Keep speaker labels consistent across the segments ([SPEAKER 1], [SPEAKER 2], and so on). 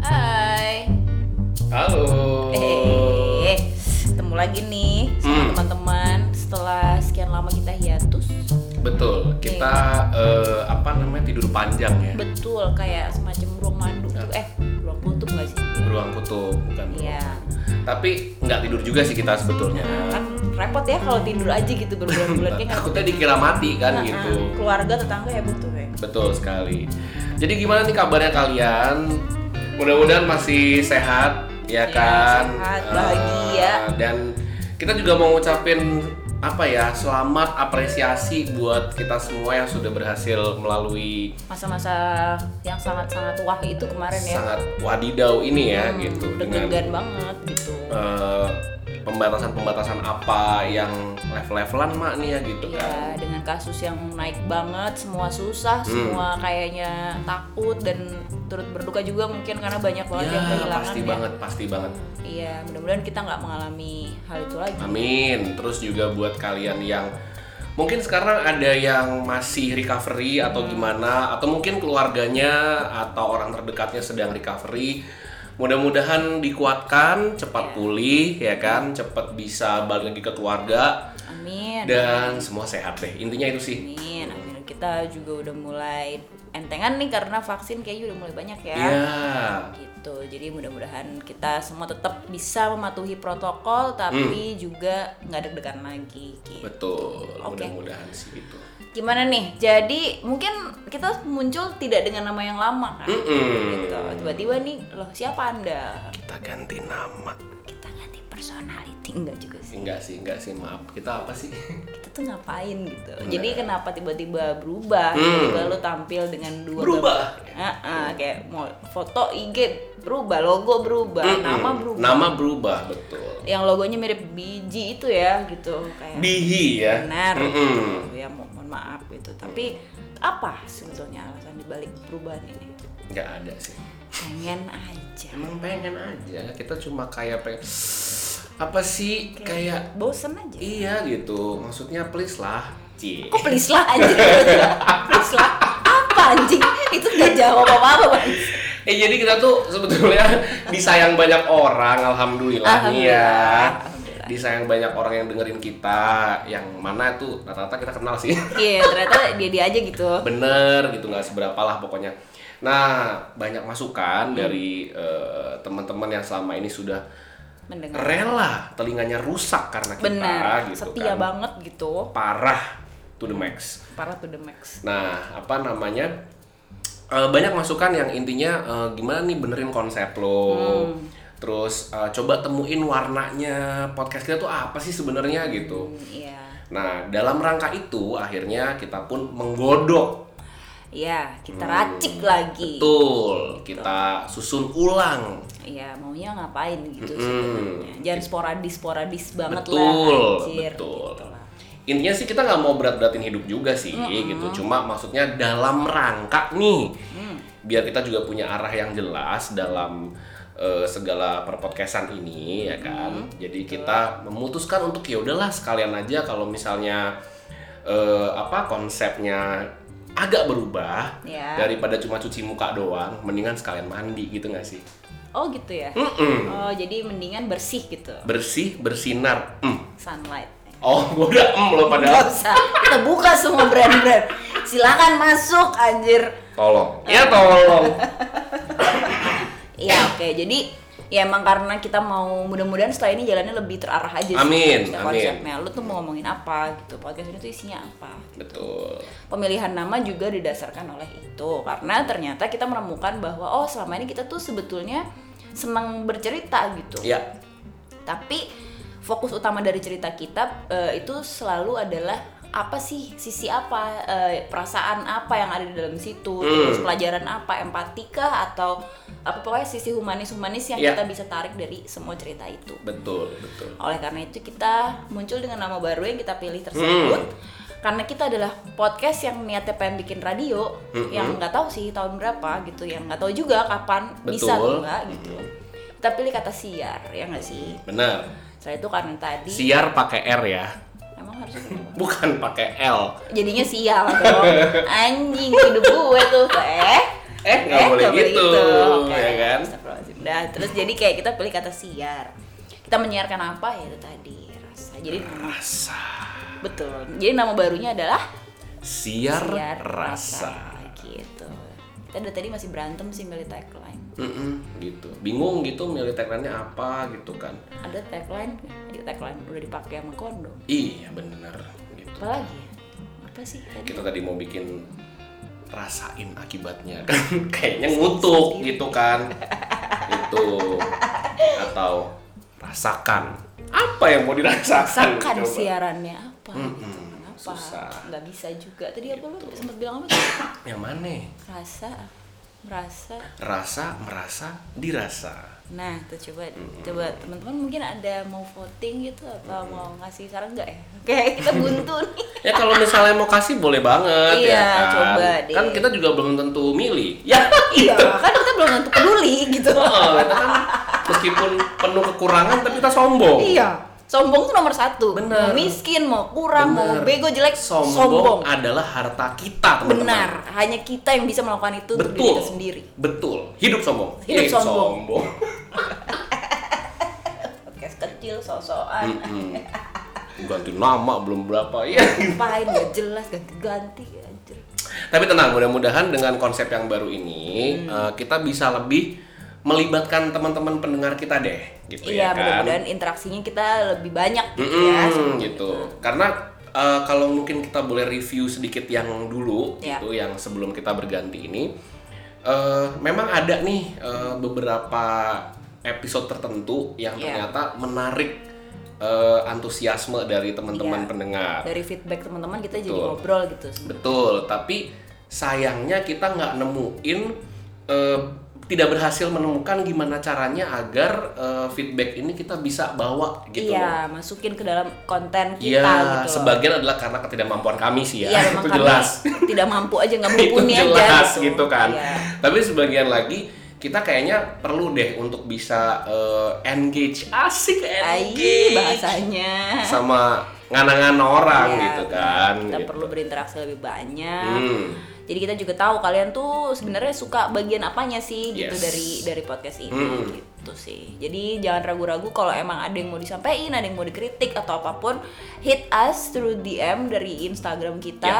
[SPEAKER 1] Hai.
[SPEAKER 2] Halo.
[SPEAKER 1] Eh, ketemu lagi nih sama
[SPEAKER 2] Hmm.
[SPEAKER 1] teman-teman setelah sekian lama kita hiatus.
[SPEAKER 2] Betul, kita eh, apa namanya tidur panjang ya.
[SPEAKER 1] Betul kayak semacam ruang mandu tuh. Eh, ruang kutub nggak sih?
[SPEAKER 2] Beruang kutub bukan beruang.
[SPEAKER 1] Iya.
[SPEAKER 2] Tapi nggak tidur juga sih kita sebetulnya.
[SPEAKER 1] Kan repot ya kalau tidur aja gitu berbulan-bulan kayak nggak-
[SPEAKER 2] Takutnya dikira mati kan
[SPEAKER 1] Nah,
[SPEAKER 2] gitu.
[SPEAKER 1] Keluarga tetangga ya butuh ya.
[SPEAKER 2] Betul sekali. Jadi gimana nih kabarnya kalian? Mudah-mudahan masih sehat ya
[SPEAKER 1] Iya,
[SPEAKER 2] kan.
[SPEAKER 1] sehat,
[SPEAKER 2] Eh,
[SPEAKER 1] bahagia.
[SPEAKER 2] dan kita juga mau ngucapin apa ya? Selamat apresiasi buat kita semua yang sudah berhasil melalui
[SPEAKER 1] Masa-masa yang sangat-sangat wah itu kemarin ya.
[SPEAKER 2] sangat wadidau ini ya
[SPEAKER 1] Hmm,
[SPEAKER 2] gitu dengan
[SPEAKER 1] Deg-degan banget gitu.
[SPEAKER 2] eh, pembatasan-pembatasan apa yang level-levelan mak nih ya gitu kan.
[SPEAKER 1] Iya, dengan kasus yang naik banget, semua susah,
[SPEAKER 2] Hmm.
[SPEAKER 1] semua kayaknya takut dan turut berduka juga mungkin karena banyak banget yang
[SPEAKER 2] Ya,
[SPEAKER 1] kehilangan.
[SPEAKER 2] pasti
[SPEAKER 1] ya.
[SPEAKER 2] banget, pasti banget.
[SPEAKER 1] Iya, mudah-mudahan kita nggak mengalami hal itu lagi.
[SPEAKER 2] Amin. Terus juga buat kalian yang mungkin sekarang ada yang masih recovery
[SPEAKER 1] Hmm.
[SPEAKER 2] atau gimana atau mungkin keluarganya atau orang terdekatnya sedang recovery. Mudah-mudahan dikuatkan,
[SPEAKER 1] Iya.
[SPEAKER 2] cepat pulih ya kan, cepat bisa balik lagi ke keluarga
[SPEAKER 1] Amin.
[SPEAKER 2] dan semua sehat deh. Intinya itu sih.
[SPEAKER 1] Amin. Akhirnya kita juga udah mulai entengan nih karena vaksin kayaknya udah mulai banyak ya.
[SPEAKER 2] Iya.
[SPEAKER 1] Gitu. Jadi mudah-mudahan kita semua tetap bisa mematuhi protokol
[SPEAKER 2] Hmm.
[SPEAKER 1] tapi juga nggak deg-degan lagi. Gitu.
[SPEAKER 2] Betul.
[SPEAKER 1] Oke.
[SPEAKER 2] Mudah-mudahan sih gitu.
[SPEAKER 1] gimana nih jadi mungkin kita muncul tidak dengan nama yang lama kan
[SPEAKER 2] Mm-mm.
[SPEAKER 1] gitu tiba-tiba nih loh siapa anda
[SPEAKER 2] Kita ganti nama.
[SPEAKER 1] kita ganti personality enggak juga sih
[SPEAKER 2] Enggak sih, enggak sih, maaf. Kita apa sih?
[SPEAKER 1] kita tuh ngapain gitu jadi
[SPEAKER 2] Nah.
[SPEAKER 1] kenapa tiba-tiba berubah tiba lu tampil dengan dua
[SPEAKER 2] Hmm. Berubah.
[SPEAKER 1] Ah, ah, kayak mau foto IG berubah logo berubah nama berubah
[SPEAKER 2] Nama berubah, betul.
[SPEAKER 1] yang logonya mirip biji itu ya gitu kayak
[SPEAKER 2] Bihi ya.
[SPEAKER 1] benar
[SPEAKER 2] Mm-mm.
[SPEAKER 1] gitu. ya mo- mohon maaf gitu tapi apa sebetulnya alasan dibalik perubahan ini
[SPEAKER 2] Enggak ada sih.
[SPEAKER 1] pengen aja
[SPEAKER 2] Emang pengen aja. Kita cuma kayak pengen apa sih kayak
[SPEAKER 1] bosen aja
[SPEAKER 2] iya gitu. Maksudnya please lah. Cie.
[SPEAKER 1] kok please lah anjing tiba-tiba? please lah apa anjing itu gak jawab apa-apa Bang.
[SPEAKER 2] Eh jadi kita tuh sebetulnya disayang banyak orang, alhamdulillah, nih ya.
[SPEAKER 1] Alhamdulillah, alhamdulillah.
[SPEAKER 2] Disayang banyak orang yang dengerin kita, yang mana tuh rata-rata kita kenal sih.
[SPEAKER 1] iya ternyata dia dia aja gitu
[SPEAKER 2] bener gitu nggak seberapa lah pokoknya nah banyak
[SPEAKER 1] Hmm.
[SPEAKER 2] masukan dari eh, teman-teman yang selama ini sudah
[SPEAKER 1] mendengar
[SPEAKER 2] rela telinganya rusak karena kita
[SPEAKER 1] benar
[SPEAKER 2] gitu
[SPEAKER 1] setia
[SPEAKER 2] kan.
[SPEAKER 1] banget gitu
[SPEAKER 2] parah to the max
[SPEAKER 1] parah tuh the max
[SPEAKER 2] nah apa namanya eh, banyak masukan yang intinya eh, gimana nih benerin konsep lo
[SPEAKER 1] Hmm.
[SPEAKER 2] terus eh, coba temuin warnanya podcast kita tuh apa sih sebenarnya gitu
[SPEAKER 1] Hmm, iya
[SPEAKER 2] nah dalam rangka itu akhirnya kita pun menggodok
[SPEAKER 1] iya kita racik
[SPEAKER 2] Hmm.
[SPEAKER 1] lagi
[SPEAKER 2] Betul, kita susun ulang.
[SPEAKER 1] Iya, maunya ngapain gitu
[SPEAKER 2] Mm-mm.
[SPEAKER 1] sebenarnya. Jangan sporadis-sporadis
[SPEAKER 2] Hmm.
[SPEAKER 1] banget
[SPEAKER 2] Gitu. Betul,
[SPEAKER 1] lah, anjir.
[SPEAKER 2] betul.
[SPEAKER 1] gitu lah.
[SPEAKER 2] Intinya sih kita nggak mau berat-beratin hidup juga sih, gitu. Cuma maksudnya dalam rangka nih,
[SPEAKER 1] Mm.
[SPEAKER 2] biar kita juga punya arah yang jelas dalam eh, segala perpodcastan ini, ya kan. Jadi kita memutuskan untuk ya udahlah sekalian aja kalau misalnya eh, apa konsepnya agak berubah
[SPEAKER 1] Ya.
[SPEAKER 2] daripada cuma cuci muka doang, mendingan sekalian mandi gitu nggak sih?
[SPEAKER 1] Oh gitu ya.
[SPEAKER 2] Mm-mm.
[SPEAKER 1] Oh jadi mendingan bersih gitu,
[SPEAKER 2] bersih bersinar Mm.
[SPEAKER 1] sunlight.
[SPEAKER 2] oh gua udah mm lo
[SPEAKER 1] Gak
[SPEAKER 2] padahal
[SPEAKER 1] usah. Kita buka semua brand-brand. Silakan masuk anjir.
[SPEAKER 2] tolong ya tolong
[SPEAKER 1] Iya oke. Jadi ya emang karena kita mau mudah-mudahan setelah ini jalannya lebih terarah aja sih. gitu,
[SPEAKER 2] Amin,
[SPEAKER 1] Kita
[SPEAKER 2] amin.
[SPEAKER 1] Konsepnya lu tuh mau ngomongin apa gitu. Podcast ini tuh isinya apa?
[SPEAKER 2] betul
[SPEAKER 1] pemilihan nama juga didasarkan oleh itu karena ternyata kita menemukan bahwa oh selama ini kita tuh sebetulnya senang bercerita gitu
[SPEAKER 2] ya
[SPEAKER 1] tapi fokus utama dari cerita kita eh, itu selalu adalah apa sih sisi apa
[SPEAKER 2] Hmm.
[SPEAKER 1] eh, perasaan apa yang ada di dalam situ terus pelajaran apa empatikah atau apa pokoknya sisi humanis-humanis yang
[SPEAKER 2] Iya.
[SPEAKER 1] kita bisa tarik dari semua cerita itu.
[SPEAKER 2] Betul, betul.
[SPEAKER 1] Oleh karena itu kita muncul dengan nama baru yang kita pilih tersebut.
[SPEAKER 2] Hmm.
[SPEAKER 1] Karena kita adalah podcast yang niatnya pengen bikin radio,
[SPEAKER 2] Mm-mm.
[SPEAKER 1] yang nggak tahu sih tahun berapa gitu, yang nggak tahu juga kapan bisa
[SPEAKER 2] Betul.
[SPEAKER 1] atau nggak gitu. Kita pilih kata siar ya nggak sih.
[SPEAKER 2] Benar.
[SPEAKER 1] Setelah itu karena tadi
[SPEAKER 2] Siar pakai R ya.
[SPEAKER 1] emang harus kenapa?
[SPEAKER 2] Bukan pakai L.
[SPEAKER 1] jadinya sial dong. Anjing hidup gue tuh eh.
[SPEAKER 2] Eh, nggak
[SPEAKER 1] Eh,
[SPEAKER 2] boleh gitu,
[SPEAKER 1] Oke.
[SPEAKER 2] ya kan?
[SPEAKER 1] Astagfirullahaladzim. Nah, terus jadi kayak kita pilih kata siar. Kita menyiarkan apa ya itu tadi rasa. Jadi nama-
[SPEAKER 2] Rasa.
[SPEAKER 1] betul. Jadi nama barunya adalah
[SPEAKER 2] Siar,
[SPEAKER 1] siar
[SPEAKER 2] rasa.
[SPEAKER 1] Gitu. Kita dari tadi masih berantem sih milih tagline.
[SPEAKER 2] Mm-mm, gitu. Bingung gitu milih tagline-nya apa gitu kan.
[SPEAKER 1] Ada tagline, Ada tagline udah dipakai sama kondom.
[SPEAKER 2] Iya, bener gitu.
[SPEAKER 1] Apa lagi? ya? Apa sih tadi?
[SPEAKER 2] Kita tadi mau bikin rasain akibatnya kan kayaknya ngutuk gitu kan. Itu atau rasakan. Apa yang mau dirasakan?
[SPEAKER 1] Rasakan ya.
[SPEAKER 2] Coba.
[SPEAKER 1] siarannya apa? gitu.
[SPEAKER 2] Mm-mm,
[SPEAKER 1] Apa?
[SPEAKER 2] susah. Gitu.
[SPEAKER 1] Nggak bisa juga. Tadi apa lu sempat bilang apa? tuh?
[SPEAKER 2] Yang mana?
[SPEAKER 1] Rasa, merasa,
[SPEAKER 2] Rasa, merasa, dirasa.
[SPEAKER 1] Nah, tuh coba coba teman-teman mungkin ada mau voting gitu atau mau ngasih saran nggak ya? Kayak kita buntu
[SPEAKER 2] Ya
[SPEAKER 1] nih.
[SPEAKER 2] kalau misalnya mau kasih boleh banget
[SPEAKER 1] Iya,
[SPEAKER 2] ya kan.
[SPEAKER 1] coba deh.
[SPEAKER 2] Kan kita juga belum tentu milih. Ya,
[SPEAKER 1] iya, kan kita belum tentu peduli gitu.
[SPEAKER 2] oh, kita kan meskipun penuh kekurangan tapi kita sombong.
[SPEAKER 1] iya. Sombong tuh nomor satu.
[SPEAKER 2] Bener.
[SPEAKER 1] Mau miskin, mau kurang, mau
[SPEAKER 2] Bener.
[SPEAKER 1] bego, jelek,
[SPEAKER 2] Sombong,
[SPEAKER 1] sombong.
[SPEAKER 2] adalah harta kita, teman-teman.
[SPEAKER 1] Benar. Hanya kita yang bisa melakukan itu untuk diri
[SPEAKER 2] Betul.
[SPEAKER 1] kita sendiri.
[SPEAKER 2] Betul. Hidup sombong.
[SPEAKER 1] Hidup
[SPEAKER 2] Eh,
[SPEAKER 1] sombong.
[SPEAKER 2] sombong.
[SPEAKER 1] Podcast kecil, sosokan,
[SPEAKER 2] Mm-mm. Ganti nama belum berapa ya.
[SPEAKER 1] ngapain nggak jelas ganti-ganti ya, anjir.
[SPEAKER 2] Tapi tenang, mudah-mudahan dengan konsep yang baru ini
[SPEAKER 1] Hmm.
[SPEAKER 2] eh, kita bisa lebih melibatkan teman-teman pendengar kita deh, gitu
[SPEAKER 1] Iya,
[SPEAKER 2] ya kan.
[SPEAKER 1] mudah-mudahan interaksinya kita lebih banyak gitu
[SPEAKER 2] Mm-mm,
[SPEAKER 1] ya. sebelum
[SPEAKER 2] gitu. Karena eh, kalau mungkin kita boleh review sedikit yang dulu
[SPEAKER 1] Ya.
[SPEAKER 2] gitu yang sebelum kita berganti ini eh, memang ada nih eh, beberapa episode tertentu yang
[SPEAKER 1] Ya.
[SPEAKER 2] ternyata menarik eh, antusiasme dari teman-teman
[SPEAKER 1] Ya.
[SPEAKER 2] pendengar.
[SPEAKER 1] dari feedback teman-teman kita jadi
[SPEAKER 2] Betul.
[SPEAKER 1] ngobrol gitu sebenarnya.
[SPEAKER 2] Betul, tapi sayangnya kita nggak nemuin eh, tidak berhasil menemukan gimana caranya agar eh, feedback ini kita bisa bawa gitu loh.
[SPEAKER 1] iya masukin ke dalam konten
[SPEAKER 2] Iya,
[SPEAKER 1] kita gitu loh.
[SPEAKER 2] sebagian adalah karena ketidakmampuan kami sih ya.
[SPEAKER 1] Iya, memang
[SPEAKER 2] itu
[SPEAKER 1] kami
[SPEAKER 2] jelas.
[SPEAKER 1] tidak mampu aja nggak
[SPEAKER 2] itu
[SPEAKER 1] mumpuni aja
[SPEAKER 2] jelas gitu, kan.
[SPEAKER 1] Iya.
[SPEAKER 2] Tapi sebagian lagi kita kayaknya perlu deh untuk bisa eh, engage
[SPEAKER 1] Ah,
[SPEAKER 2] asik
[SPEAKER 1] Ai,
[SPEAKER 2] engage
[SPEAKER 1] bahasanya
[SPEAKER 2] sama nganangan orang
[SPEAKER 1] eh. Iya,
[SPEAKER 2] gitu kan.
[SPEAKER 1] kita
[SPEAKER 2] gitu.
[SPEAKER 1] perlu berinteraksi lebih banyak
[SPEAKER 2] Hmm,
[SPEAKER 1] jadi kita juga tahu kalian tuh sebenarnya suka bagian apanya sih gitu
[SPEAKER 2] Yes.
[SPEAKER 1] dari dari podcast ini
[SPEAKER 2] Hmm.
[SPEAKER 1] gitu sih jadi jangan ragu-ragu kalau emang ada yang mau disampaikan ada yang mau dikritik atau apapun hit us through DM dari Instagram
[SPEAKER 2] Ya.
[SPEAKER 1] kita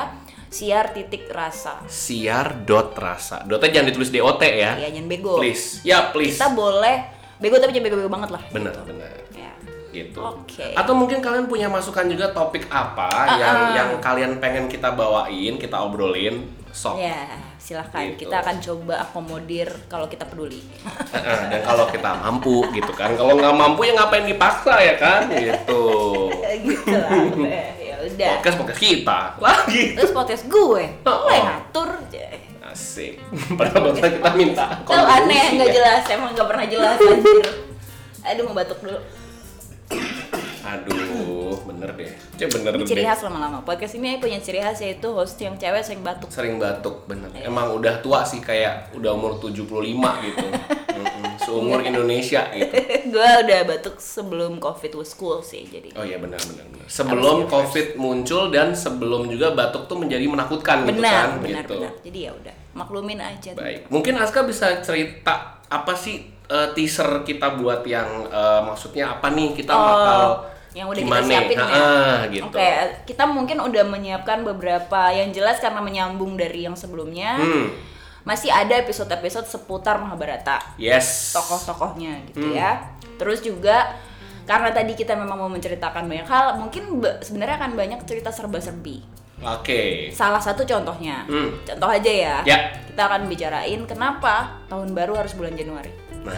[SPEAKER 1] siar titik rasa
[SPEAKER 2] siar dot rasa. Dotnya jangan ditulis DOT ya.
[SPEAKER 1] ya jangan bego
[SPEAKER 2] Please. Ya, please.
[SPEAKER 1] kita boleh bego tapi jangan bego-bego banget lah
[SPEAKER 2] Benar, benar.
[SPEAKER 1] ya
[SPEAKER 2] gitu.
[SPEAKER 1] Oke. Ah,
[SPEAKER 2] Atau mungkin kalian punya masukan juga topik apa yang yang kalian pengen kita bawain, kita obrolin, sok.
[SPEAKER 1] ya
[SPEAKER 2] Oh.
[SPEAKER 1] silahkan
[SPEAKER 2] Gitu.
[SPEAKER 1] kita akan coba akomodir kalau kita peduli
[SPEAKER 2] Heeh, Dan kalau kita mampu gitu kan. Kalau nggak mampu ya ngapain dipaksa ya kan? Gitu.
[SPEAKER 1] gitu lah ya udah
[SPEAKER 2] Podcast podcast kita lagi.
[SPEAKER 1] terus podcast gue
[SPEAKER 2] Oh.
[SPEAKER 1] lo yang ngatur Ya. aja.
[SPEAKER 2] Asik. Padahal bakal kita minta.
[SPEAKER 1] Tahu aneh
[SPEAKER 2] kontribusi
[SPEAKER 1] nggak
[SPEAKER 2] ya.
[SPEAKER 1] jelas emang nggak pernah jelas anjir. Aduh mau batuk dulu.
[SPEAKER 2] Aduh, bener deh. Cek bener
[SPEAKER 1] Ini
[SPEAKER 2] deh.
[SPEAKER 1] ciri khas lama-lama. Podcast ini punya ciri khas yaitu host yang cewek sering batuk.
[SPEAKER 2] Sering batuk, bener.
[SPEAKER 1] Iya.
[SPEAKER 2] Emang udah tua sih kayak udah umur 75 gitu. Mm-mm, Seumur
[SPEAKER 1] Iya.
[SPEAKER 2] Indonesia gitu.
[SPEAKER 1] gue udah batuk sebelum covid was cool sih jadi.
[SPEAKER 2] Oh iya benar benar. benar.
[SPEAKER 1] Iya,
[SPEAKER 2] Sebelum Covid muncul dan sebelum juga batuk tuh menjadi menakutkan gitu kan
[SPEAKER 1] Benar, benar,
[SPEAKER 2] gitu.
[SPEAKER 1] benar. Jadi ya udah maklumin aja.
[SPEAKER 2] Baik. Mungkin Aska bisa cerita apa sih eh, teaser kita buat yang eh, maksudnya apa nih kita
[SPEAKER 1] Oh,
[SPEAKER 2] bakal
[SPEAKER 1] yang udah kita
[SPEAKER 2] gimana?
[SPEAKER 1] siapin ya?
[SPEAKER 2] Ah, gitu.
[SPEAKER 1] Oke, kita mungkin udah menyiapkan beberapa yang jelas karena menyambung dari yang sebelumnya.
[SPEAKER 2] Hmm.
[SPEAKER 1] Masih ada episode-episode seputar Mahabharata.
[SPEAKER 2] Yes.
[SPEAKER 1] tokoh-tokohnya gitu
[SPEAKER 2] Hmm.
[SPEAKER 1] ya. Terus juga karena tadi kita memang mau menceritakan banyak hal, mungkin be- sebenarnya akan banyak cerita serba-serbi.
[SPEAKER 2] Oke.
[SPEAKER 1] Salah satu contohnya,
[SPEAKER 2] Hmm.
[SPEAKER 1] contoh aja ya.
[SPEAKER 2] Ya.
[SPEAKER 1] Kita akan bicarain kenapa tahun baru harus bulan Januari.
[SPEAKER 2] Nah,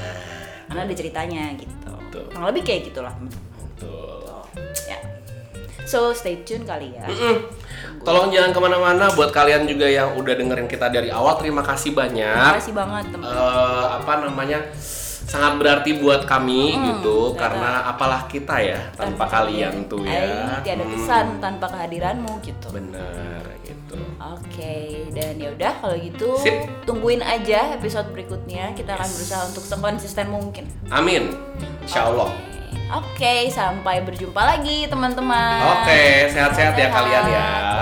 [SPEAKER 1] Karena ada ceritanya gitu.
[SPEAKER 2] Betul.
[SPEAKER 1] Kurang lebih kayak gitulah.
[SPEAKER 2] betul.
[SPEAKER 1] Ya. So stay tune kali ya.
[SPEAKER 2] Tolong jangan kemana-mana buat kalian juga yang udah dengerin kita dari awal. Terima kasih
[SPEAKER 1] Terima
[SPEAKER 2] banyak.
[SPEAKER 1] kasih banget teman.
[SPEAKER 2] Eh, apa namanya? Sangat berarti buat kami
[SPEAKER 1] Hmm,
[SPEAKER 2] gitu karena apalah kita ya tanpa kalian tuh ya.
[SPEAKER 1] Ai, tiada kesan tanpa kehadiranmu gitu.
[SPEAKER 2] Bener gitu.
[SPEAKER 1] Oke, dan ya udah kalau gitu
[SPEAKER 2] Sip.
[SPEAKER 1] tungguin aja episode berikutnya. Kita akan berusaha untuk sekonsisten mungkin.
[SPEAKER 2] Amin. Insya Allah.
[SPEAKER 1] Oke, sampai berjumpa lagi teman-teman.
[SPEAKER 2] Oke, sehat-sehat ya kalian ya.
[SPEAKER 1] Sehat.